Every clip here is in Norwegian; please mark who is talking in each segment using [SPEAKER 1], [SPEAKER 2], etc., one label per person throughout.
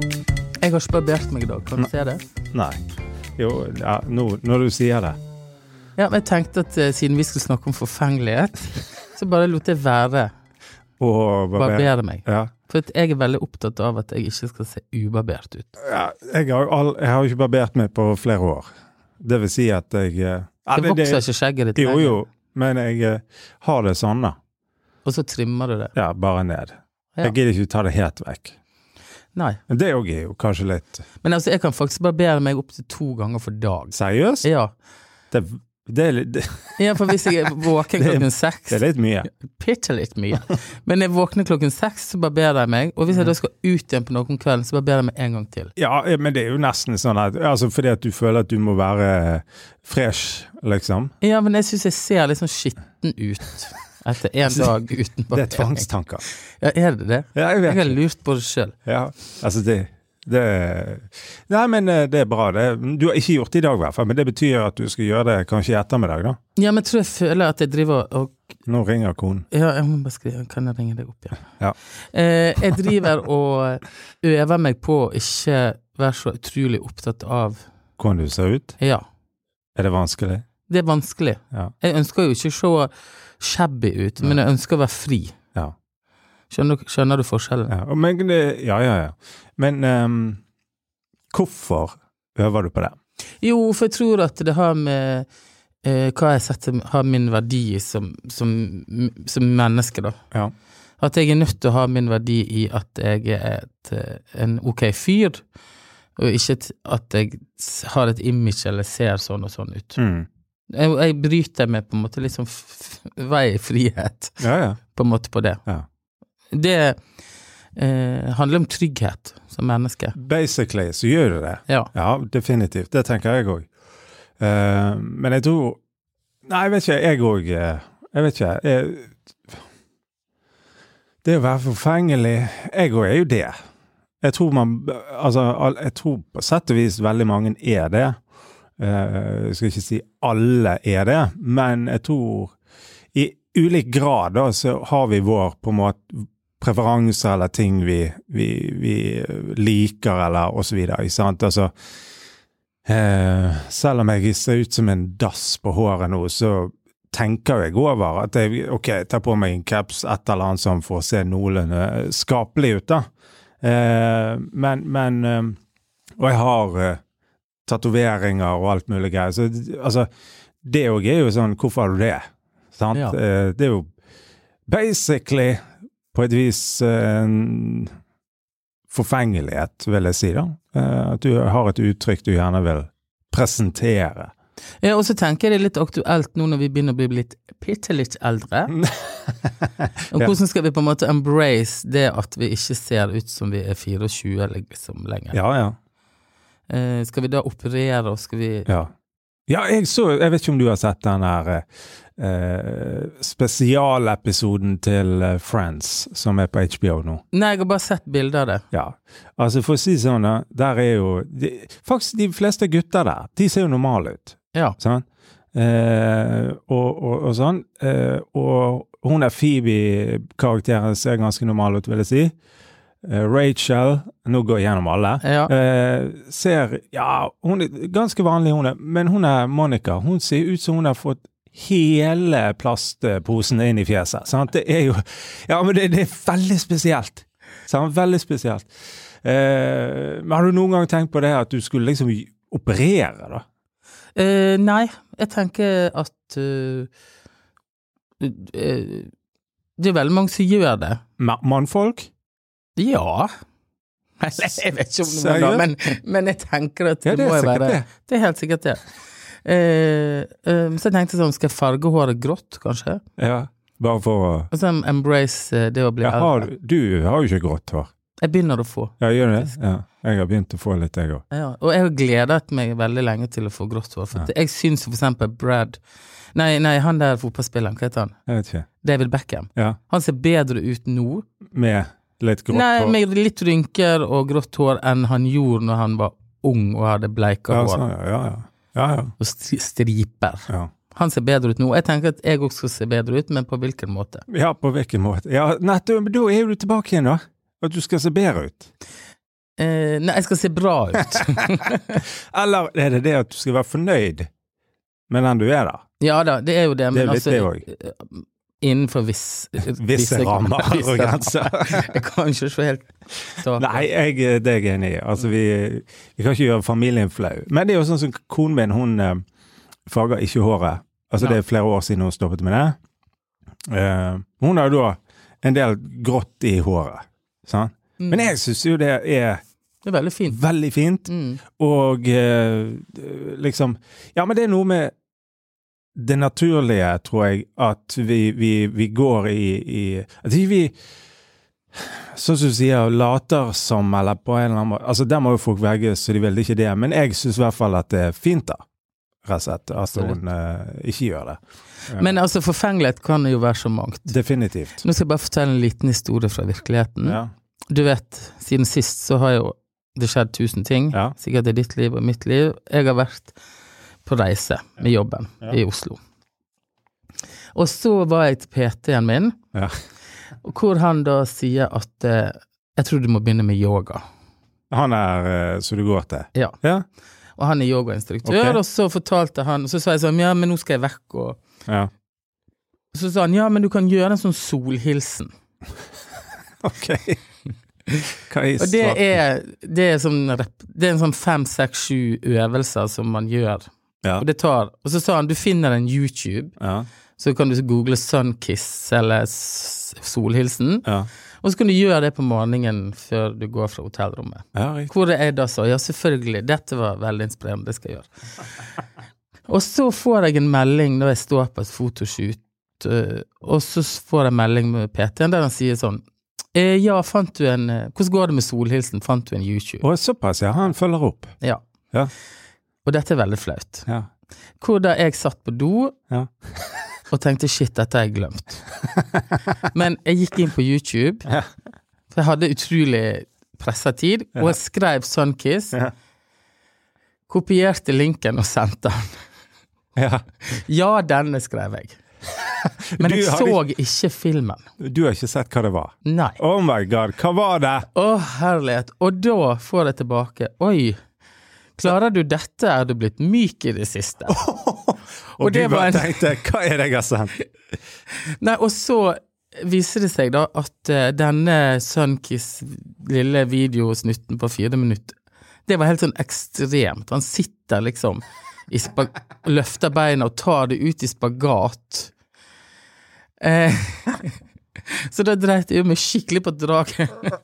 [SPEAKER 1] Jeg har ikke barbert meg i dag. Kan du se det?
[SPEAKER 2] Nei. Jo, ja, nå, når du sier det.
[SPEAKER 1] Ja, men jeg tenkte at eh, siden vi skulle snakke om forfengelighet, så bare lot jeg være
[SPEAKER 2] Og
[SPEAKER 1] å barbere meg.
[SPEAKER 2] Ja.
[SPEAKER 1] For at jeg er veldig opptatt av at jeg ikke skal se ubarbert ut.
[SPEAKER 2] ja jeg, har jo all, jeg har jo ikke barbert meg på flere år. Det vil si at jeg eh, ja,
[SPEAKER 1] Det vokser ikke skjegget ditt
[SPEAKER 2] Jo,
[SPEAKER 1] lenger,
[SPEAKER 2] jo. Men jeg eh, har det sånn, da.
[SPEAKER 1] og så trimmer du det.
[SPEAKER 2] Ja, bare ned.
[SPEAKER 1] Ja.
[SPEAKER 2] Jeg gidder ikke ta det helt vekk.
[SPEAKER 1] Nei.
[SPEAKER 2] Men det òg er jo kanskje litt
[SPEAKER 1] Men altså, jeg kan faktisk barbere meg opptil to ganger for dag.
[SPEAKER 2] seriøst.
[SPEAKER 1] Ja.
[SPEAKER 2] Det, det, er, litt- det,
[SPEAKER 1] ja, for hvis jeg er våken
[SPEAKER 2] Det er-
[SPEAKER 1] klokken seks
[SPEAKER 2] det er litt mye.
[SPEAKER 1] bitte litt mye. Men jeg våkner klokken seks, så barberer jeg meg. Og hvis jeg da skal ut igjen på noe om kvelden, så barberer jeg meg en gang til.
[SPEAKER 2] Ja, eh, men det er jo nesten sånn at altså Fordi at du føler at du må være fresh, liksom.
[SPEAKER 1] Ja, men jeg syns jeg ser litt sånn skitten ut etter en dag uten
[SPEAKER 2] Det er
[SPEAKER 1] barbering.
[SPEAKER 2] tvangstanker.
[SPEAKER 1] Ja, er det det?
[SPEAKER 2] Ja, jeg
[SPEAKER 1] Jeg
[SPEAKER 2] vet.
[SPEAKER 1] har lurt på det sjøl.
[SPEAKER 2] Ja, altså det, det Nei, men eh, det er bra. Det, du har ikke gjort det i dag, i hvert fall. Men det betyr at du skal gjøre det kanskje i ettermiddag, da.
[SPEAKER 1] Ja, men jeg tror jeg føler at jeg driver og
[SPEAKER 2] Nå ringer konen.
[SPEAKER 1] Ja, jeg må bare skrive Kan jeg ringe deg opp igjen?
[SPEAKER 2] Ja.
[SPEAKER 1] Eh, jeg driver og øver meg på å ikke være så utrolig opptatt av
[SPEAKER 2] Hvordan du ser ut?
[SPEAKER 1] Ja,
[SPEAKER 2] Er det vanskelig?
[SPEAKER 1] det er vanskelig.
[SPEAKER 2] Ja.
[SPEAKER 1] Jeg ønsker jo ikke å se shabby ut, men jeg ønsker å være fri.
[SPEAKER 2] Ja.
[SPEAKER 1] Skjønner, du- skjønner du forskjellen?
[SPEAKER 2] ja. Og Men, det- ja, ja, ja. Men ehm, hvorfor øver du på det?
[SPEAKER 1] Jo, for jeg tror at det har med eh, hva jeg setter har min verdi i som, som, som menneske, da.
[SPEAKER 2] Ja.
[SPEAKER 1] At jeg er nødt til å ha min verdi i at jeg er et, eh, en ok fyr, og ikke et- at jeg s- har et image eller ser sånn og sånn ut.
[SPEAKER 2] Mm.
[SPEAKER 1] Jeg, jeg bryter meg på en måte litt sånn f- f- vei i frihet,
[SPEAKER 2] Ja, ja.
[SPEAKER 1] på en måte, på det.
[SPEAKER 2] Ja.
[SPEAKER 1] Det eh, handler om trygghet som menneske.
[SPEAKER 2] Basically så gjør du det.
[SPEAKER 1] Ja.
[SPEAKER 2] Ja, definitivt. Det tenker jeg òg. men jeg tror Nei, jeg vet ikke. Jeg òg Jeg vet ikke. Jeg, det å være forfengelig Jeg òg er jo det. Jeg tror man Altså, al- jeg tror på sett og vis veldig mange er det. Eh, jeg skal ikke si alle er det, men jeg tror i ulik grad da, så har vi vår på en måte preferanser eller ting vi, vi, vi eh, liker eller og så videre, ikke sant? Altså, eh, selv om jeg ser ut som en dass på håret nå, så tenker jeg over at jeg, ok, jeg tar på meg en caps, et eller annet sånn for å se noenlunde eh, skapelig ut da. Eh, men, men, eh, og jeg har eh, tatoveringer og alt mulig greier, så altså, det òg er jo sånn, hvorfor har du det? Sant?
[SPEAKER 1] Ja.
[SPEAKER 2] Eh, det er jo basically på et vis eh, en forfengelighet, vil jeg si, da. Eh, At du har et uttrykk du gjerne vil presentere.
[SPEAKER 1] Ja, og så tenker jeg det er litt aktuelt nå når vi begynner å bli litt bitte litt eldre. Og
[SPEAKER 2] Ja.
[SPEAKER 1] hvordan skal vi på en måte embrace det at vi ikke ser ut som vi er 24 liksom lenger?
[SPEAKER 2] Ja, ja.
[SPEAKER 1] Eh, skal vi da operere, og skal vi
[SPEAKER 2] Ja, ja jeg, så, jeg vet ikke om du har sett den her eh, eh, spesialepisoden til eh, Friends som er på HBO nå.
[SPEAKER 1] Nei, jeg har bare sett bilder av det.
[SPEAKER 2] Ja, altså for å si sånn, da, der er jo de, Faktisk de fleste gutter der, de ser jo normale ut.
[SPEAKER 1] Ja.
[SPEAKER 2] Sånn. Eh, og, og, og sånn. Eh, og hun der Phoebe-karakteren ser ganske normal ut, vil jeg si. Eh, Rachel, nå går jeg gjennom alle,
[SPEAKER 1] Ja.
[SPEAKER 2] eh, ser Ja, hun er ganske vanlig, hun er. Men hun er Monica. Hun ser ut som hun har fått hele plastposen inn i fjeset. Sant? Det er jo Ja, men det, det er veldig spesielt. Sant? Veldig spesielt. Eh, men har du noen gang tenkt på det at du skulle liksom operere, da?
[SPEAKER 1] Eh, nei, jeg tenker at eh, eh, Det er veldig mange som gjør det.
[SPEAKER 2] Ma- Mannfolk?
[SPEAKER 1] Ja. Eller, jeg vet ikke om noen da,
[SPEAKER 2] Seriøst?
[SPEAKER 1] men, men jeg tenker at det,
[SPEAKER 2] Ja, det er
[SPEAKER 1] må jo
[SPEAKER 2] sikkert
[SPEAKER 1] være
[SPEAKER 2] det.
[SPEAKER 1] Det er helt sikkert det. Eh, eh, så jeg tenkte sånn, skal jeg farge håret grått, kanskje?
[SPEAKER 2] Ja, bare for å
[SPEAKER 1] Og så embrace eh, det å bli
[SPEAKER 2] ja, har,
[SPEAKER 1] eldre.
[SPEAKER 2] Du har jo ikke grått hår.
[SPEAKER 1] Jeg begynner å få.
[SPEAKER 2] Ja, gjør du det? Ja. Jeg har begynt å få litt, jeg òg.
[SPEAKER 1] Ja, og jeg har gledet meg veldig lenge til å få grått hår. For at jeg syns for eksempel Brad Nei, nei, han der fotballspilleren, hva heter han?
[SPEAKER 2] Jeg vet ikke.
[SPEAKER 1] David Beckham.
[SPEAKER 2] Ja,
[SPEAKER 1] Han ser bedre ut nå,
[SPEAKER 2] Med litt grått
[SPEAKER 1] nei,
[SPEAKER 2] hår.
[SPEAKER 1] med litt rynker og grått hår, enn han gjorde når han var ung og hadde bleika
[SPEAKER 2] ja,
[SPEAKER 1] hår
[SPEAKER 2] sånn, ja, ja, ja. Ja, ja.
[SPEAKER 1] og stri- striper.
[SPEAKER 2] Ja.
[SPEAKER 1] Han ser bedre ut nå. Jeg tenker at jeg også skal se bedre ut, men på hvilken måte?
[SPEAKER 2] ja, på hvilken måte? Ja, nettopp, men da er jo du tilbake igjen, da. At du skal se bedre ut.
[SPEAKER 1] Eh, nei, jeg skal se bra ut.
[SPEAKER 2] Eller er det det at du skal være fornøyd med den du er, da?
[SPEAKER 1] ja da, det er jo det,
[SPEAKER 2] Det
[SPEAKER 1] men
[SPEAKER 2] er litt
[SPEAKER 1] altså
[SPEAKER 2] det òg.
[SPEAKER 1] Innenfor viss, eh,
[SPEAKER 2] Visse rammer og
[SPEAKER 1] visse
[SPEAKER 2] grenser.
[SPEAKER 1] rammer. Jeg kan ikke se helt tak.
[SPEAKER 2] Nei, jeg, det er jeg enig i. Altså, vi, vi kan ikke gjøre familien flau. Men det er jo sånn som konen min, hun eh, farger ikke håret. Altså, det er flere år siden hun stoppet med det. Eh, hun har jo da en del grått i håret. Sant?
[SPEAKER 1] Mm.
[SPEAKER 2] Men jeg syns jo det er
[SPEAKER 1] Det er veldig fint.
[SPEAKER 2] veldig fint,
[SPEAKER 1] Mm.
[SPEAKER 2] og eh, liksom Ja, men det er noe med det naturlige, tror jeg, at vi, vi, vi går i, i At ikke vi Sånn som du sier, later som, eller på en eller annen måte Altså, der må jo folk velge så de vil, det er ikke det, men jeg syns i hvert fall at det er fint, da. Rett og slett. At hun eh, ikke gjør det.
[SPEAKER 1] Men altså, forfengelighet kan jo være så mangt.
[SPEAKER 2] Definitivt.
[SPEAKER 1] Nå skal jeg bare fortelle en liten historie fra virkeligheten.
[SPEAKER 2] Ja.
[SPEAKER 1] Du vet, siden sist så har jo det skjedd tusen ting.
[SPEAKER 2] ja.
[SPEAKER 1] Sikkert i ditt liv og mitt liv. Jeg har vært på reise med jobben
[SPEAKER 2] Ja.
[SPEAKER 1] i Oslo. Og så var jeg til PT-en min,
[SPEAKER 2] Ja.
[SPEAKER 1] og hvor han da sier at eh, jeg tror du må begynne med yoga.
[SPEAKER 2] Han er eh, som du går til?
[SPEAKER 1] Ja.
[SPEAKER 2] Ja.
[SPEAKER 1] Og han er yogainstruktør,
[SPEAKER 2] Ok.
[SPEAKER 1] og så fortalte han, og så sa jeg sånn, ja, men nå skal jeg vekk, og
[SPEAKER 2] ja.
[SPEAKER 1] så sa han, ja, men du kan gjøre en sånn solhilsen.
[SPEAKER 2] Ok. Hva i
[SPEAKER 1] Og det
[SPEAKER 2] svarte-
[SPEAKER 1] er, det er, sånn, rep- det er en sånn fem, seks, sju øvelser som man gjør.
[SPEAKER 2] Ja.
[SPEAKER 1] Og det tar, og så sa han du finner en YouTube,
[SPEAKER 2] Ja,
[SPEAKER 1] så kan du google Sunkiss eller s- Solhilsen,
[SPEAKER 2] ja.
[SPEAKER 1] og så kan du gjøre det på morgenen før du går fra hotellrommet.
[SPEAKER 2] ja riktig.
[SPEAKER 1] Hvor jeg da sa ja, selvfølgelig, dette var veldig inspirerende, det skal jeg gjøre. Og så får jeg en melding når jeg står på et fotoshoot, øh, og så s- får jeg melding med PT-en der han sier sånn eh, Ja, fant du en eh, Hvordan går det med solhilsen? Fant du en YouTube?
[SPEAKER 2] Og såpass, ja. Han følger opp.
[SPEAKER 1] Ja.
[SPEAKER 2] Ja.
[SPEAKER 1] Og dette er veldig flaut.
[SPEAKER 2] Ja.
[SPEAKER 1] Hvor da jeg satt på do
[SPEAKER 2] Ja.
[SPEAKER 1] og tenkte shit, dette har jeg glemt. Men jeg gikk inn på YouTube,
[SPEAKER 2] Ja.
[SPEAKER 1] for jeg hadde utrolig pressa tid, og jeg skrev Sunkiss.
[SPEAKER 2] Ja.
[SPEAKER 1] Kopierte linken og sendte den.
[SPEAKER 2] ja.
[SPEAKER 1] Ja, denne skrev jeg. Men
[SPEAKER 2] Du
[SPEAKER 1] jeg
[SPEAKER 2] har
[SPEAKER 1] så ikke filmen.
[SPEAKER 2] Du har ikke sett hva det var?
[SPEAKER 1] Nei. Å,
[SPEAKER 2] Oh my god, hva var det?
[SPEAKER 1] herlighet. Og da får jeg tilbake Oi, klarer du dette? Er du blitt myk i det siste?
[SPEAKER 2] Og,
[SPEAKER 1] Og
[SPEAKER 2] du
[SPEAKER 1] det var
[SPEAKER 2] bare
[SPEAKER 1] en-
[SPEAKER 2] tenkte hva er det jeg har sendt?
[SPEAKER 1] Nei, og så viser det seg da at eh, denne Sunkiss lille videosnutten på fire minutter, det var helt sånn ekstremt. Han sitter liksom i spa løfter beina og tar det ut i spagat. Eh, så da dreit jeg jo meg skikkelig på draget.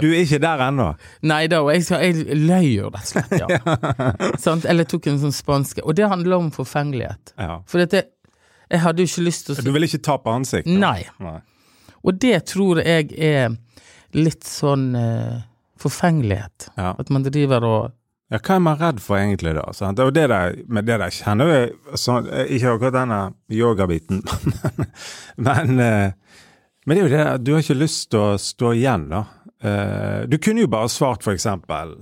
[SPEAKER 2] Du er ikke der ennå.
[SPEAKER 1] Nei da, og jeg, jeg løy jo rett og slett, ja. Sant? Eller tok en sånn spanske. Og det handler om forfengelighet.
[SPEAKER 2] Ja.
[SPEAKER 1] For dette, jeg hadde jo ikke lyst til å
[SPEAKER 2] Du vil ikke tape ansiktet?
[SPEAKER 1] Nei.
[SPEAKER 2] Nei.
[SPEAKER 1] Og det tror jeg er litt sånn eh, forfengelighet.
[SPEAKER 2] Ja.
[SPEAKER 1] At man driver og
[SPEAKER 2] Ja, hva er man redd for egentlig da? Sant? Og det der, men det der kjenner jeg sånn, eh, Ikke akkurat denne yogabiten, men, eh, men det er jo det der, du har ikke lyst til å stå igjen, da. Eh, Du kunne jo bare svart for eksempel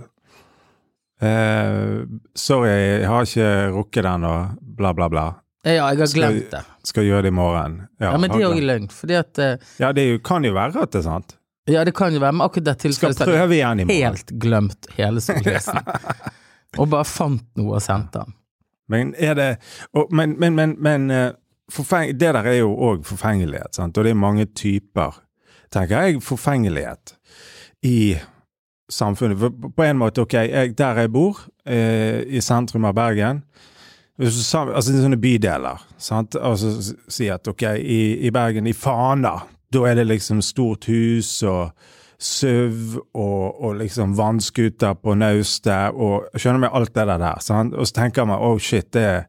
[SPEAKER 2] eh, Sorry, jeg har ikke rukket den, og bla, bla, bla.
[SPEAKER 1] eh, Ja, jeg har
[SPEAKER 2] Skal-
[SPEAKER 1] glemt det.
[SPEAKER 2] Skal gjøre det i morgen.
[SPEAKER 1] Ja, Men det er
[SPEAKER 2] har
[SPEAKER 1] òg
[SPEAKER 2] glemt.
[SPEAKER 1] løgn. Fordi at eh,
[SPEAKER 2] ja, det er jo, kan jo være at det er sant.
[SPEAKER 1] Ja, det kan jo være, men akkurat det
[SPEAKER 2] Skal
[SPEAKER 1] tilfellet så hadde
[SPEAKER 2] prøve igjen i
[SPEAKER 1] jeg
[SPEAKER 2] morgen.
[SPEAKER 1] helt glemt hele solhilsen. Og bare fant noe og sendte den.
[SPEAKER 2] Men er det og, Men, men, men, men eh, forfeng, det der er jo òg forfengelighet, sant? og det er mange typer, tenker jeg, forfengelighet i samfunnet. For på en måte, ok, jeg, der jeg bor, eh, i sentrum av Bergen hvis du sam- Altså det er sånne bydeler, sant. Altså s- si at ok, i, i Bergen, i Fana, da er det liksom stort hus og SUV og, og liksom vannskuter på naustet og Skjønner meg alt det der der. Sant? Og så tenker man oh shit, det, er-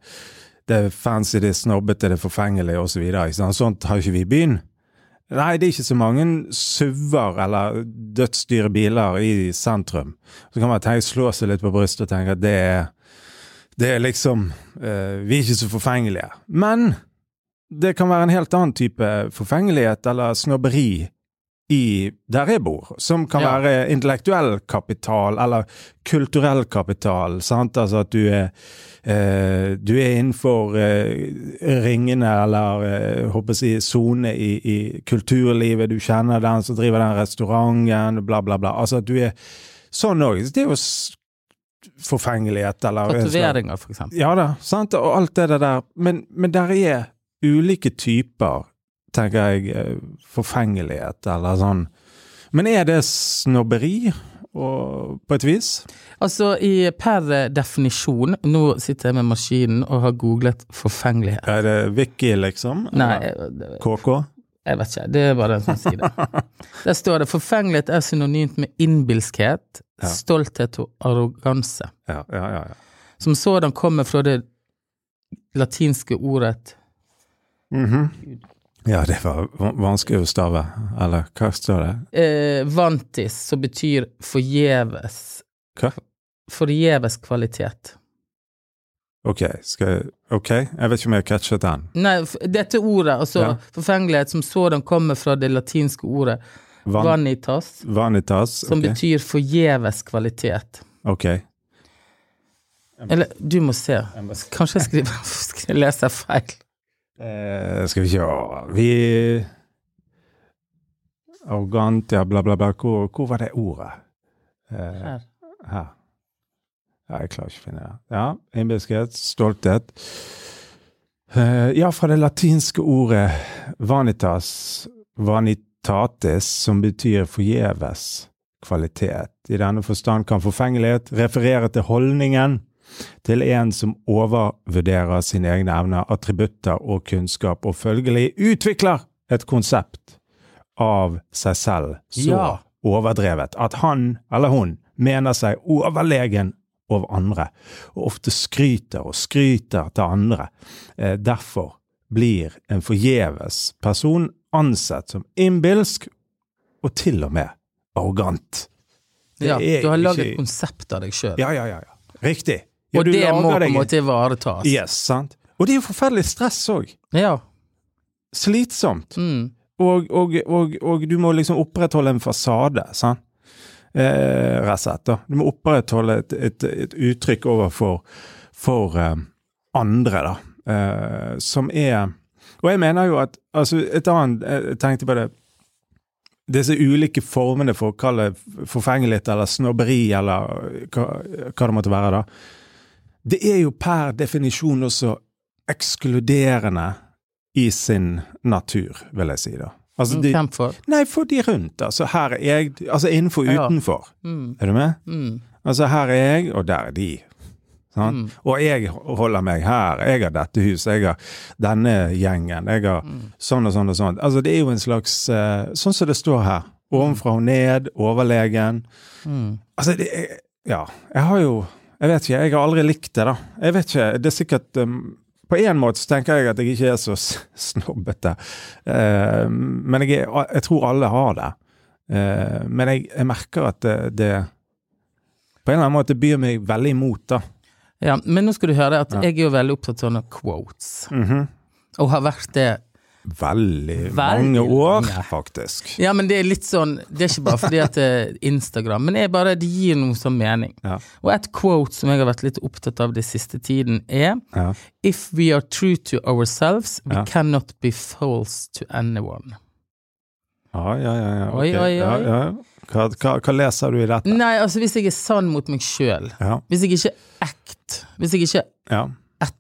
[SPEAKER 2] det er fancy, det er snobbete, det er forfengelig osv. Så videre, ikke sant? Sånt har ikke vi i byen. Nei, det er ikke så mange SUV-er eller dødsdyre biler i sentrum. Så kan man tenke, slå seg litt på brystet og tenke at det er det er liksom eh, Vi er ikke så forfengelige. Men det kan være en helt annen type forfengelighet eller snobberi i der jeg bor, som kan
[SPEAKER 1] Ja.
[SPEAKER 2] være intellektuell kapital eller kulturell kapital. sant? Altså at du er, eh, du er innenfor eh, ringene eller eh, håper jeg å si, sone i, i kulturlivet. Du kjenner den som driver den restauranten, bla, bla, bla. Altså at du er Sånn òg. Det er jo s- forfengelighet, eller en slags-
[SPEAKER 1] Tatoveringer, for eksempel.
[SPEAKER 2] Ja da, sant? og alt det der. Men, men der er ulike typer, tenker jeg, eh, forfengelighet eller sånn. Men er det snobberi, og, på et vis?
[SPEAKER 1] Altså, i per definisjon Nå sitter jeg med maskinen og har googlet forfengelighet.
[SPEAKER 2] Er det wiki, liksom?
[SPEAKER 1] Nei, eh,
[SPEAKER 2] Eller
[SPEAKER 1] jeg,
[SPEAKER 2] KK?
[SPEAKER 1] Jeg vet ikke, det er bare den som sier det. Der står det 'forfengelighet er synonymt med innbilskhet,
[SPEAKER 2] Ja.
[SPEAKER 1] stolthet og arroganse'.
[SPEAKER 2] Ja, ja, ja. ja.
[SPEAKER 1] Som sådan kommer fra det latinske ordet
[SPEAKER 2] Mhm. Ja, det var va- vanskelig å stave. Eller hva står det?
[SPEAKER 1] eh, 'vantis', som betyr forgjeves.
[SPEAKER 2] Hva?
[SPEAKER 1] Forgjeves kvalitet.
[SPEAKER 2] Ok, skal jeg, ok, jeg vet ikke om jeg catchet den.
[SPEAKER 1] Nei, f- dette ordet, altså
[SPEAKER 2] Ja.
[SPEAKER 1] forfengelighet som sådan, kommer fra det latinske ordet
[SPEAKER 2] Van,
[SPEAKER 1] vanitas,
[SPEAKER 2] vanitas?
[SPEAKER 1] som
[SPEAKER 2] ok.
[SPEAKER 1] betyr forgjeves kvalitet.
[SPEAKER 2] Ok.
[SPEAKER 1] Eller, du må se. Kanskje jeg skriver, skal jeg lese feil.
[SPEAKER 2] Eh, skal vi se Vi Arrogant, ja, bla, bla, bla. Hvor, hvor var det ordet? Eh,
[SPEAKER 1] Her.
[SPEAKER 2] her. Ja, jeg klarer ikke å finne det. Ja, Innbilskhet, stolthet. Eh, ja, fra det latinske ordet vanitas, vanitatis, som betyr forgjeves kvalitet. I denne forstand kan forfengelighet referere til holdningen til en som overvurderer sine egne evner, attributter og kunnskap, og følgelig utvikler et konsept av seg selv så
[SPEAKER 1] Ja.
[SPEAKER 2] overdrevet at han eller hun mener seg overlegen over andre, og ofte skryter og skryter til andre. Eh, Derfor blir en forgjeves person ansett som innbilsk og til og med arrogant. Det
[SPEAKER 1] Ja,
[SPEAKER 2] er
[SPEAKER 1] du har
[SPEAKER 2] ikke-
[SPEAKER 1] lagd et konsept av deg sjøl,
[SPEAKER 2] Ja, ja, ja. ja. Riktig. Ja,
[SPEAKER 1] og
[SPEAKER 2] du
[SPEAKER 1] det
[SPEAKER 2] lager
[SPEAKER 1] må på
[SPEAKER 2] deg-
[SPEAKER 1] en måte ivaretas.
[SPEAKER 2] Yes, sant. Og det er jo forferdelig stress òg.
[SPEAKER 1] Ja.
[SPEAKER 2] Slitsomt.
[SPEAKER 1] Mm.
[SPEAKER 2] Og, og, og, og du må liksom opprettholde en fasade, sant. Eh, rett og slett, da. Du må opprettholde et, et, et uttrykk overfor for eh, andre, da. Eh, som er Og jeg mener jo at altså Et annet Jeg tenkte på det Disse ulike formene for å kalle det forfengelighet eller snobberi eller eh, hva, hva det måtte være, da. Det er jo per definisjon også ekskluderende i sin natur, vil jeg si, da. Altså, de,
[SPEAKER 1] Kjemp for.
[SPEAKER 2] Nei, for de rundt. Altså, her er jeg Altså innenfor og
[SPEAKER 1] Ja.
[SPEAKER 2] utenfor.
[SPEAKER 1] Mm.
[SPEAKER 2] Er du med?
[SPEAKER 1] Mm.
[SPEAKER 2] Altså, her er jeg, og der er de. Sant?
[SPEAKER 1] Mm.
[SPEAKER 2] Og jeg holder meg her. Jeg har dette huset. Jeg har denne gjengen. Jeg har sånn og sånn og sånn. Altså, det er jo en slags eh, Sånn som det står her. Ovenfra og ned. Overlegen.
[SPEAKER 1] Mm.
[SPEAKER 2] Altså, det er Ja. Jeg har jo Jeg vet ikke. Jeg har aldri likt det, da. Jeg vet ikke. Det er sikkert um, På en måte så tenker jeg at jeg ikke er så s- snobbete. Eh, men jeg, er, jeg tror alle har det. Eh, men jeg, jeg merker at det, det På en eller annen måte byr meg veldig imot, da.
[SPEAKER 1] ja. Men nå skal du høre at
[SPEAKER 2] Ja.
[SPEAKER 1] jeg er jo veldig opptatt av sånne quotes,
[SPEAKER 2] Mhm.
[SPEAKER 1] og har vært det. Veldig
[SPEAKER 2] Veldig, mange år,
[SPEAKER 1] mange.
[SPEAKER 2] faktisk.
[SPEAKER 1] Ja, men det er litt sånn Det er ikke bare fordi at det er Instagram, men det er bare det gir noe sånn mening.
[SPEAKER 2] Ja.
[SPEAKER 1] Og et quote som jeg har vært litt opptatt av det siste tiden, er
[SPEAKER 2] Ja.
[SPEAKER 1] If we are true to ourselves, we
[SPEAKER 2] Ja.
[SPEAKER 1] cannot be false to anyone.
[SPEAKER 2] Ja, ja, ja. ja.
[SPEAKER 1] Oi,
[SPEAKER 2] ok.
[SPEAKER 1] oi, oi.
[SPEAKER 2] Ja, ja. Hva, hva, hva leser du i dette?
[SPEAKER 1] Nei, altså hvis jeg er sann mot meg sjøl,
[SPEAKER 2] Ja.
[SPEAKER 1] hvis jeg ikke er act, hvis jeg ikke
[SPEAKER 2] ja.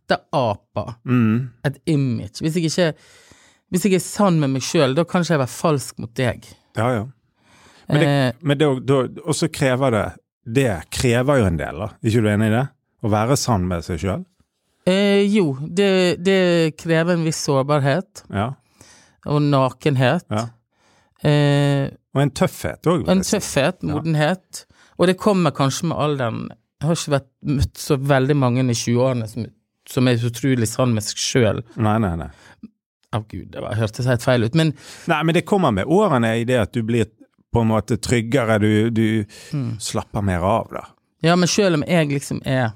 [SPEAKER 1] etteraper
[SPEAKER 2] Mm.
[SPEAKER 1] et image. Hvis jeg ikke hvis jeg er sann med meg sjøl, da kan ikke jeg være falsk mot deg.
[SPEAKER 2] Ja, ja. Men det-
[SPEAKER 1] eh,
[SPEAKER 2] Men det, da, og så krever det Det krever jo en del, da. Er ikke du enig i det? Å være sann med seg sjøl.
[SPEAKER 1] eh, jo, det, det krever en viss sårbarhet
[SPEAKER 2] Ja.
[SPEAKER 1] og nakenhet.
[SPEAKER 2] Ja.
[SPEAKER 1] Eh,
[SPEAKER 2] Og en tøffhet òg.
[SPEAKER 1] og en tøffhet, modenhet. Og det kommer kanskje med alderen. Jeg har ikke vært, møtt så veldig mange i 20-årene som, som er så utrolig sann med seg sjøl.
[SPEAKER 2] Nei, nei, nei.
[SPEAKER 1] Å gud, det var- hørtes helt feil ut. Men
[SPEAKER 2] Nei, men det kommer med årene i det at du blir på en måte tryggere, du, du slapper mer av, da.
[SPEAKER 1] Ja, men selv om jeg liksom er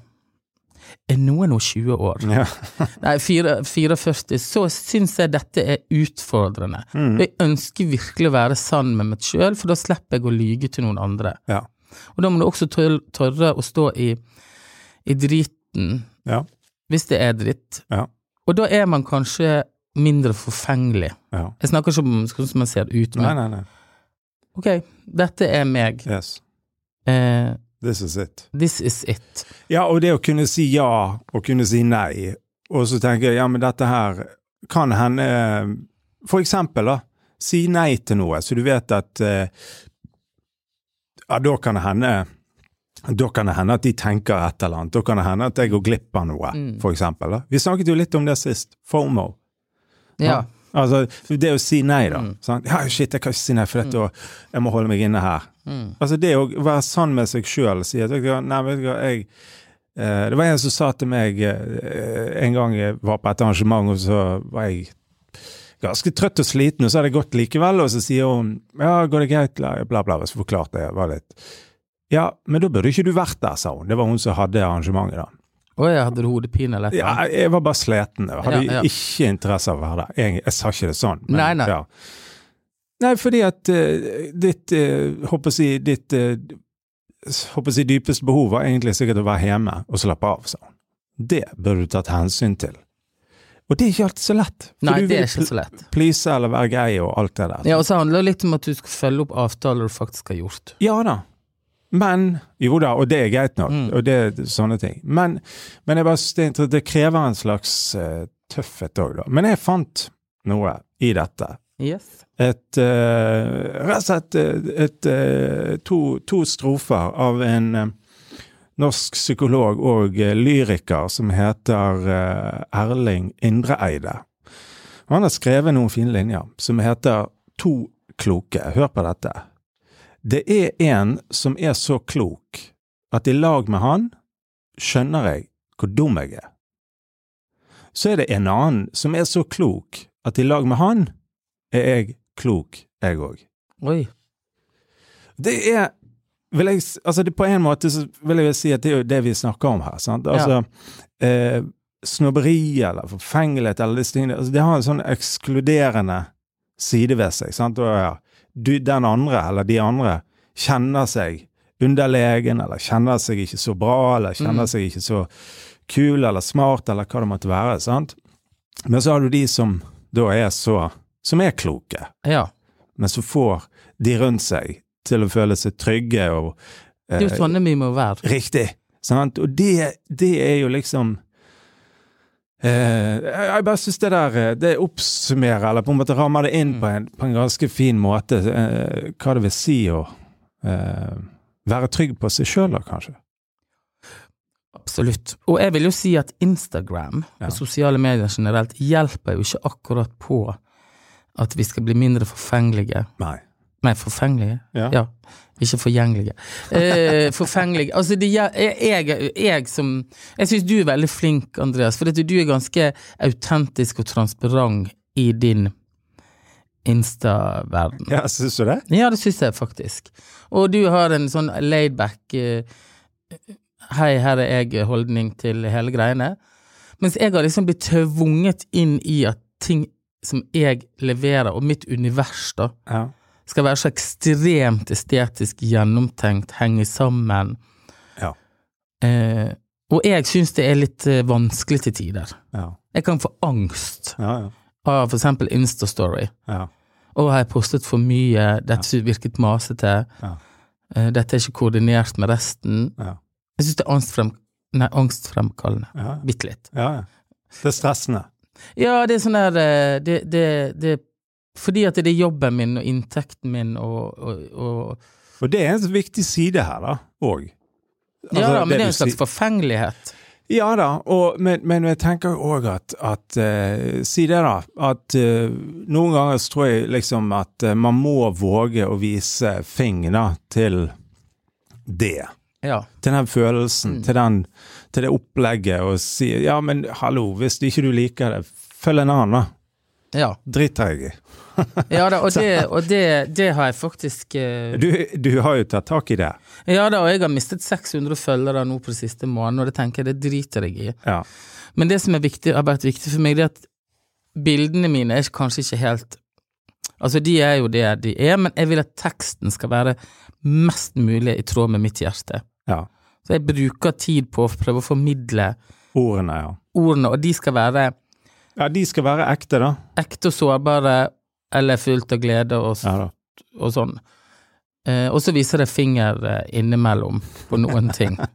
[SPEAKER 1] Er noen og 20 år,
[SPEAKER 2] Ja.
[SPEAKER 1] nei, fire- 44, så syns jeg dette er utfordrende.
[SPEAKER 2] Mm.
[SPEAKER 1] Jeg ønsker virkelig å være sann med meg sjøl, for da slipper jeg å lyge til noen andre.
[SPEAKER 2] Ja.
[SPEAKER 1] Og da må du også tør- tørre å stå i, i driten,
[SPEAKER 2] Ja.
[SPEAKER 1] hvis det er dritt.
[SPEAKER 2] Ja.
[SPEAKER 1] Og da er man kanskje mindre forfengelig.
[SPEAKER 2] ja.
[SPEAKER 1] Jeg snakker ikke om sånn som man ser ut,
[SPEAKER 2] Nei,
[SPEAKER 1] men
[SPEAKER 2] nei, nei.
[SPEAKER 1] ok, dette er meg.
[SPEAKER 2] Yes.
[SPEAKER 1] Eh,
[SPEAKER 2] This is it.
[SPEAKER 1] this is it.
[SPEAKER 2] Ja, og det å kunne si ja og kunne si nei, og så tenker jeg ja, men dette her kan hende eh, For eksempel, da. Si nei til noe, så du vet at eh, Ja, da kan det hende da kan det hende at de tenker et eller annet. Da kan det hende at jeg går glipp av noe,
[SPEAKER 1] Mm.
[SPEAKER 2] for eksempel. Da. Vi snakket jo litt om det sist. FOMO.
[SPEAKER 1] Ja.
[SPEAKER 2] Altså, det å si nei, da.
[SPEAKER 1] Mm.
[SPEAKER 2] Sant? Ja, shit, jeg kan ikke si nei, for dette, og jeg må holde meg inne her.
[SPEAKER 1] Mm.
[SPEAKER 2] Altså det å være sann med seg sjøl si at vet du hva, nei, vet du hva, jeg eh, Det var en som sa til meg eh, en gang jeg var på et arrangement, og så var jeg ganske trøtt og sliten, og så hadde jeg gått likevel, og så sier hun ja, går det greit, bla, bla, bla, og så forklarte jeg, var litt ja, men da burde ikke du vært der, sa hun. Det var hun som hadde arrangementet, da.
[SPEAKER 1] Å ja, hadde du hodepine eller et eller
[SPEAKER 2] Ja,
[SPEAKER 1] annet?
[SPEAKER 2] jeg var bare sliten. Jeg hadde
[SPEAKER 1] Ja, ja.
[SPEAKER 2] ikke interesse av å være der. Jeg, jeg sa ikke det sånn.
[SPEAKER 1] Nei, nei.
[SPEAKER 2] Ja. Nei, fordi at eh, ditt, eh, håper å si, ditt eh, håper å si, dypeste behov var egentlig sikkert å være hjemme og slappe av, sa hun. Det burde du tatt hensyn til. Og det er ikke alltid så lett. For
[SPEAKER 1] Nei,
[SPEAKER 2] du
[SPEAKER 1] det
[SPEAKER 2] vil
[SPEAKER 1] er ikke så lett.
[SPEAKER 2] pl- Please eller være grei og alt det der.
[SPEAKER 1] Ja, Og så handler det litt om at du skal følge opp avtaler du faktisk har gjort.
[SPEAKER 2] Ja da. Men Jo da, og det er greit nok,
[SPEAKER 1] Mm.
[SPEAKER 2] og det er sånne ting. Men, men jeg bare synes det, er interessant, det krever en slags eh, tøffhet òg, da. Men jeg fant noe i dette.
[SPEAKER 1] Yes.
[SPEAKER 2] Et eh, Rett og slett et, et, eh, to, to strofer av en eh, norsk psykolog og eh, lyriker som heter eh, Erling Indreeide. Og Han har skrevet noen fine linjer som heter To kloke. Hør på dette. Det er en som er så klok at i lag med han skjønner jeg hvor dum jeg er. Så er det en annen som er så klok at i lag med han er jeg klok, jeg òg.
[SPEAKER 1] Oi.
[SPEAKER 2] Det er vil jeg, s- altså det, På en måte så vil jeg si at det er jo det vi snakker om her. Sant? Altså, eh, snobberi eller forfengelighet eller disse tingene, altså, det har en sånn ekskluderende side ved seg. Sant? Og, ja, du, den andre eller de andre kjenner seg underlegen eller kjenner seg ikke så bra eller kjenner
[SPEAKER 1] Mm.
[SPEAKER 2] seg ikke så kul eller smart eller hva det måtte være. Sant? Men så har du de som da er så som er kloke
[SPEAKER 1] Ja.
[SPEAKER 2] men så får de rundt seg til å føle seg trygge og
[SPEAKER 1] Det
[SPEAKER 2] Eh,
[SPEAKER 1] er jo sånn det vi må være.
[SPEAKER 2] riktig. Sant? Og det, det er jo liksom eh, jeg- Jeg bare syns det der eh, Det oppsummerer, eller på en måte rammer det inn på, en, på en ganske fin måte, eh, hva det vil si å eh, være trygg på seg sjøl, da, kanskje.
[SPEAKER 1] Absolutt. Og jeg vil jo si at Instagram
[SPEAKER 2] Ja.
[SPEAKER 1] og sosiale medier generelt hjelper jo ikke akkurat på at vi skal bli mindre forfengelige.
[SPEAKER 2] Nei.
[SPEAKER 1] Nei, forfengelige?
[SPEAKER 2] Ja.
[SPEAKER 1] Ja. Ikke forgjengelige. Eh, forfengelige Altså, det, gjel- jeg, jeg, jeg som Jeg syns du er veldig flink, Andreas, for at du er ganske autentisk og transparent i din Insta-verden.
[SPEAKER 2] Ja, syns du det?
[SPEAKER 1] Ja, det syns jeg faktisk. Og du har en sånn laidback eh, Hei, her er jeg-holdning til hele greiene. Mens jeg har liksom blitt tvunget inn i at ting som jeg leverer, og mitt univers, da,
[SPEAKER 2] Ja.
[SPEAKER 1] skal være så ekstremt estetisk gjennomtenkt, henge sammen.
[SPEAKER 2] Ja.
[SPEAKER 1] Eh, og jeg syns det er litt eh, vanskelig til tider.
[SPEAKER 2] Ja.
[SPEAKER 1] Jeg kan få angst
[SPEAKER 2] Ja, ja.
[SPEAKER 1] av for eksempel Instastory.
[SPEAKER 2] ja.
[SPEAKER 1] Å, har jeg postet for mye? Dette virket masete.
[SPEAKER 2] Ja.
[SPEAKER 1] Eh, Dette er ikke koordinert med resten.
[SPEAKER 2] Ja.
[SPEAKER 1] Jeg syns det er angstfrem, nei, angstfremkallende.
[SPEAKER 2] ja. ja.
[SPEAKER 1] Bitte litt.
[SPEAKER 2] ja, ja. Det er stressende.
[SPEAKER 1] Ja, det er sånn der eh, det, det, det, Fordi at det er jobben min og inntekten min og, og, og
[SPEAKER 2] Og det er en viktig side her, da, òg.
[SPEAKER 1] Ja da, men det er
[SPEAKER 2] Altså, du
[SPEAKER 1] en slags
[SPEAKER 2] sier-
[SPEAKER 1] forfengelighet.
[SPEAKER 2] Ja da, og, men, men jeg tenker òg at, at eh, Si det, da. At eh, noen ganger så tror jeg liksom at eh, man må våge å vise fingrene til det.
[SPEAKER 1] Ja.
[SPEAKER 2] Til den følelsen, til, den, til det opplegget, og si ja, men hallo, hvis ikke du liker det, følg en annen, da.
[SPEAKER 1] Ja,
[SPEAKER 2] Drit deg i.
[SPEAKER 1] ja da, og, det, og det, det har jeg faktisk eh,
[SPEAKER 2] Du, du har jo tatt tak i det.
[SPEAKER 1] Ja da, og jeg har mistet 600 følgere nå på det siste måneden, og det tenker jeg det driter jeg i.
[SPEAKER 2] Ja.
[SPEAKER 1] Men det som er viktig, har vært viktig for meg, det er at bildene mine er kanskje ikke helt Altså, de er jo det de er, men jeg vil at teksten skal være mest mulig i tråd med mitt hjerte.
[SPEAKER 2] ja.
[SPEAKER 1] Så jeg bruker tid på å prøve å formidle
[SPEAKER 2] Ordene, ja.
[SPEAKER 1] ordene, og de skal være
[SPEAKER 2] Ja, de skal være ekte, da.
[SPEAKER 1] ekte og sårbare, eller fullt av glede og, s-
[SPEAKER 2] Ja da.
[SPEAKER 1] og sånn. Eh, og så viser det finger eh, innimellom på noen ting.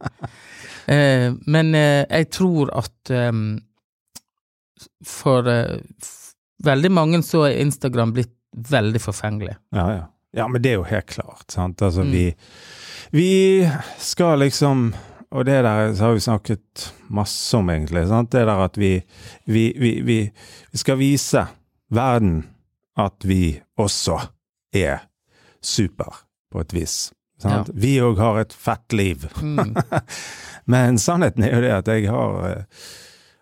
[SPEAKER 1] Eh, men eh, jeg tror at eh, for eh, f- veldig mange så er Instagram blitt veldig forfengelig.
[SPEAKER 2] Ja, ja. ja, men det er jo helt klart. Sant? Altså,
[SPEAKER 1] Mm.
[SPEAKER 2] vi, vi skal liksom Og det der så har vi snakket masse om, egentlig. Sant? Det der at vi, vi, vi, vi, vi skal vise verden at vi også er super, på et vis. Sant? Vi òg har et fett liv.
[SPEAKER 1] Mm.
[SPEAKER 2] Men sannheten er jo det at jeg har eh,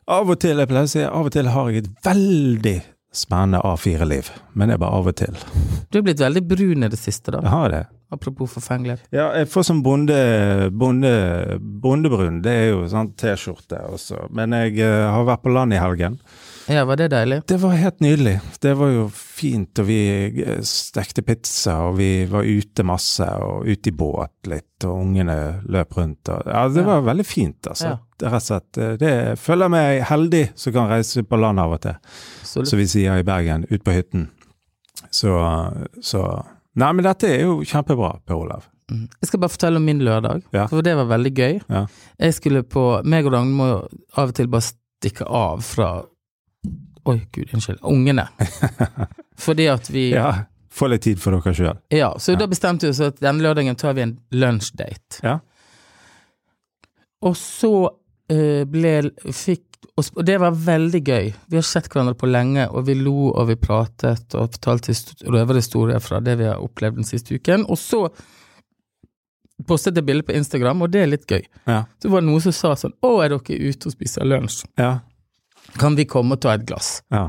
[SPEAKER 2] Av og til jeg pleier å si, av og til har jeg et veldig spennende A4-liv. Men det er bare av og til.
[SPEAKER 1] Du er blitt veldig brun i det siste, da.
[SPEAKER 2] Jeg har det.
[SPEAKER 1] Apropos forfengelighet.
[SPEAKER 2] Ja, jeg får sånn bonde, bonde, bondebrun, det er jo sånn T-skjorte også. Men jeg eh, har vært på land i helgen.
[SPEAKER 1] Ja, var det deilig?
[SPEAKER 2] Det var helt nydelig. Det var jo fint, og vi eh, stekte pizza, og vi var ute masse, og ute i båt litt, og ungene løp rundt. Og, ja, det var veldig fint, altså.
[SPEAKER 1] Ja.
[SPEAKER 2] Rett og slett. eh, Det føler jeg meg heldig som kan reise på land av og til
[SPEAKER 1] Så
[SPEAKER 2] som vi sier i Bergen, ut på hytten. Så, så Nei, men dette er jo kjempebra, Per Olav.
[SPEAKER 1] Jeg skal bare fortelle om min lørdag,
[SPEAKER 2] Ja.
[SPEAKER 1] for det var veldig gøy.
[SPEAKER 2] Ja.
[SPEAKER 1] Jeg skulle på Meg og Dagny må jo av og til bare stikke av fra Oi, gud, unnskyld. Ungene. Fordi at vi Ja,
[SPEAKER 2] Ja, Få litt tid for dere sjøl.
[SPEAKER 1] så da bestemte vi oss at denne lørdagen tar vi en lunsjdate.
[SPEAKER 2] Ja.
[SPEAKER 1] Og så eh, ble fikk oss- og det var veldig gøy. Vi har sett hverandre på lenge, og vi lo og vi pratet og fortalte histo- røverhistorier fra det vi har opplevd den siste uken. Og så postet jeg bilde på Instagram, og det er litt gøy.
[SPEAKER 2] Ja.
[SPEAKER 1] Så var det noen som sa sånn Å, er dere ute og spiser lunsj?
[SPEAKER 2] Ja.
[SPEAKER 1] Kan vi komme og ta et glass?
[SPEAKER 2] Ja.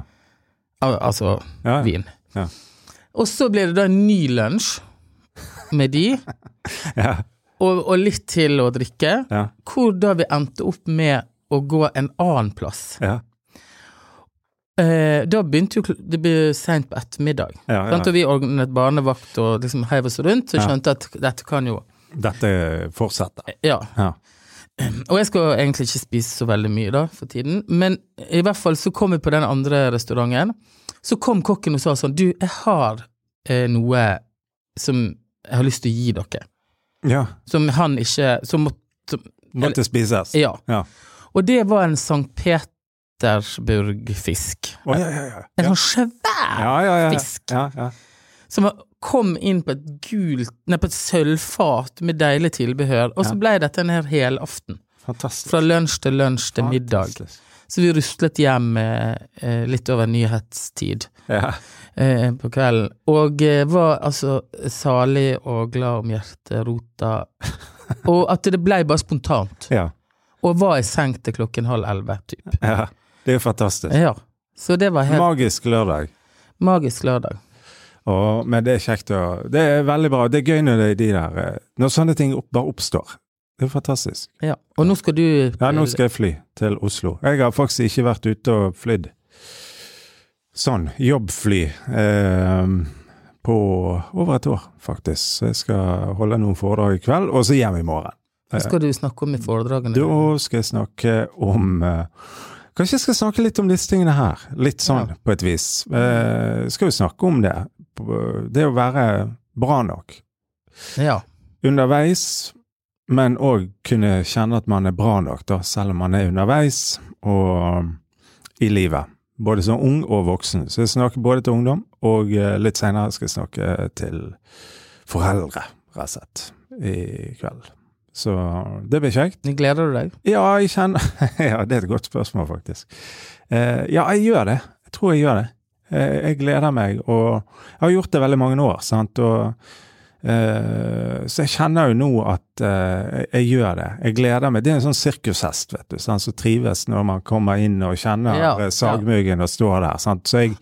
[SPEAKER 1] Al altså
[SPEAKER 2] ja.
[SPEAKER 1] vin.
[SPEAKER 2] Ja.
[SPEAKER 1] Og så ble det da en ny lunsj med de,
[SPEAKER 2] ja.
[SPEAKER 1] og, og litt til å drikke,
[SPEAKER 2] ja.
[SPEAKER 1] hvor da vi endte opp med å gå en annen plass.
[SPEAKER 2] ja.
[SPEAKER 1] Eh, da begynte jo kl- det ble seint på ettermiddag.
[SPEAKER 2] Ja, ja.
[SPEAKER 1] Sant? Og vi ordnet barnevakt og liksom heiv oss rundt, så
[SPEAKER 2] Ja.
[SPEAKER 1] skjønte at dette kan jo
[SPEAKER 2] Dette fortsetter.
[SPEAKER 1] Ja.
[SPEAKER 2] Ja.
[SPEAKER 1] Og jeg skal egentlig ikke spise så veldig mye da, for tiden, men i hvert fall så kom vi på den andre restauranten. Så kom kokken og sa sånn, du, jeg har eh, noe som jeg har lyst til å gi dere.
[SPEAKER 2] ja.
[SPEAKER 1] Som han ikke, som måtte, som,
[SPEAKER 2] Måtte spises.
[SPEAKER 1] ja.
[SPEAKER 2] Ja.
[SPEAKER 1] Og det var en Sankt Petersburg-fisk.
[SPEAKER 2] Å, ja, ja, ja.
[SPEAKER 1] En sånn svær
[SPEAKER 2] Ja, ja, ja.
[SPEAKER 1] Fisk.
[SPEAKER 2] Ja, ja.
[SPEAKER 1] som kom inn på et gult, nei, på et sølvfat med deilig tilbehør, og så
[SPEAKER 2] Ja.
[SPEAKER 1] ble dette en her helaften.
[SPEAKER 2] Fantastisk.
[SPEAKER 1] Fra lunsj til lunsj til middag.
[SPEAKER 2] Ah, Fantastisk.
[SPEAKER 1] Så vi ruslet hjem eh, eh, litt over nyhetstid
[SPEAKER 2] Ja.
[SPEAKER 1] eh, på kvelden, og eh, var altså salig og glad om hjerterota. Og at det blei bare spontant.
[SPEAKER 2] ja.
[SPEAKER 1] Og var i seng til klokken halv elleve, typ.
[SPEAKER 2] ja. Det er jo fantastisk.
[SPEAKER 1] Ja. Så det var helt
[SPEAKER 2] Magisk lørdag.
[SPEAKER 1] magisk lørdag.
[SPEAKER 2] Å, men det er kjekt å Det er veldig bra. Det er gøy når det er de der eh, Når sånne ting opp, bare oppstår. Det er fantastisk.
[SPEAKER 1] Ja. Og nå skal du
[SPEAKER 2] Ja,
[SPEAKER 1] Eh,
[SPEAKER 2] nå skal jeg fly til Oslo. Jeg har faktisk ikke vært ute og flydd sånn, jobbfly, eh, på over et år, faktisk. Så jeg skal holde noen foredrag i kveld, og så hjem i morgen.
[SPEAKER 1] Hva skal du snakke om i foredragene?
[SPEAKER 2] Da skal jeg snakke om eh, Kanskje jeg skal snakke litt om disse tingene her. Litt sånn,
[SPEAKER 1] Ja.
[SPEAKER 2] på et vis. Eh, skal jo snakke om det. Det å være bra nok
[SPEAKER 1] Ja.
[SPEAKER 2] underveis, men òg kunne kjenne at man er bra nok, da, selv om man er underveis og i livet. Både som ung og voksen. Så jeg snakker både til ungdom, og eh, litt seinere skal jeg snakke til foreldre, rett og slett, i kveld. Så det blir kjekt.
[SPEAKER 1] Nå gleder du deg?
[SPEAKER 2] Ja, jeg kjenner Ja, det er et godt spørsmål, faktisk. Eh, ja, jeg gjør det. Jeg tror jeg gjør det. Eh, jeg gleder meg, og jeg har gjort det veldig mange år, sant, og eh, Så jeg kjenner jo nå at eh, jeg gjør det. Jeg gleder meg. Det er en sånn sirkushest, vet du, sant, som trives når man kommer inn og kjenner
[SPEAKER 1] Ja,
[SPEAKER 2] eh, sagmuggen og står der, sant. Så jeg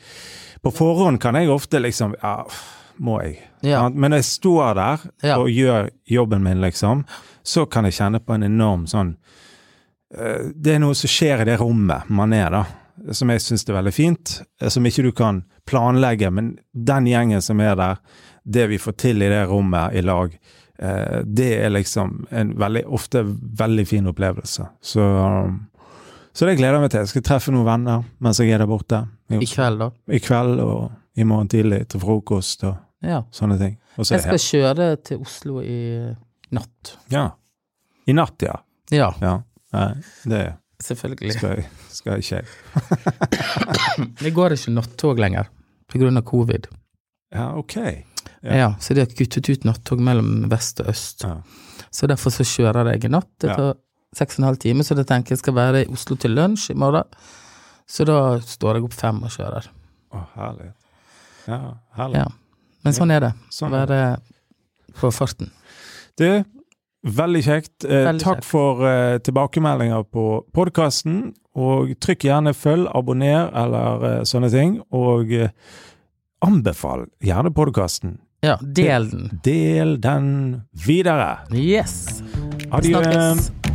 [SPEAKER 2] På forhånd kan jeg ofte liksom Ja, må jeg?
[SPEAKER 1] Ja.
[SPEAKER 2] Sant? Men når jeg står der
[SPEAKER 1] Ja.
[SPEAKER 2] og gjør jobben min, liksom, så kan jeg kjenne på en enorm sånn eh, Det er noe som skjer i det rommet man er, da, som jeg syns er veldig fint. eh, Som ikke du kan planlegge, men den gjengen som er der, det vi får til i det rommet i lag, eh, det er liksom en veldig, ofte veldig fin opplevelse. Så, um, så det gleder jeg meg til. Jeg skal treffe noen venner mens jeg er der borte.
[SPEAKER 1] I kveld, da?
[SPEAKER 2] I kveld og i morgen tidlig til frokost. og
[SPEAKER 1] Ja.
[SPEAKER 2] Sånne ting. Og så er
[SPEAKER 1] Jeg
[SPEAKER 2] det
[SPEAKER 1] skal kjøre til Oslo i natt.
[SPEAKER 2] helt- Ja. I natt, ja.
[SPEAKER 1] Ja,
[SPEAKER 2] ja. Nei, det
[SPEAKER 1] selvfølgelig.
[SPEAKER 2] skal, jeg- skal ikke jeg.
[SPEAKER 1] Det går ikke nattog lenger pga. covid.
[SPEAKER 2] Ja, OK. Ja.
[SPEAKER 1] Ja. så de har kuttet ut nattog mellom vest og øst.
[SPEAKER 2] Ja.
[SPEAKER 1] Så derfor så kjører jeg i natt. Det
[SPEAKER 2] Ja.
[SPEAKER 1] tar seks og en halv time, så det tenker jeg skal være i Oslo til lunsj i morgen. Så da står jeg opp fem og kjører.
[SPEAKER 2] Å, herlig. Ja, herlig.
[SPEAKER 1] Ja. Men sånn er det. Å
[SPEAKER 2] Sånn.
[SPEAKER 1] være på farten.
[SPEAKER 2] Du, veldig kjekt. Eh,
[SPEAKER 1] Veldig
[SPEAKER 2] takk
[SPEAKER 1] kjekt.
[SPEAKER 2] for eh, tilbakemeldinger på podkasten. Og trykk gjerne følg, abonner eller eh, sånne ting. Og eh, anbefal gjerne podkasten.
[SPEAKER 1] Ja, del den.
[SPEAKER 2] Del den videre.
[SPEAKER 1] Yes.
[SPEAKER 2] Adjø.
[SPEAKER 1] Snakkes.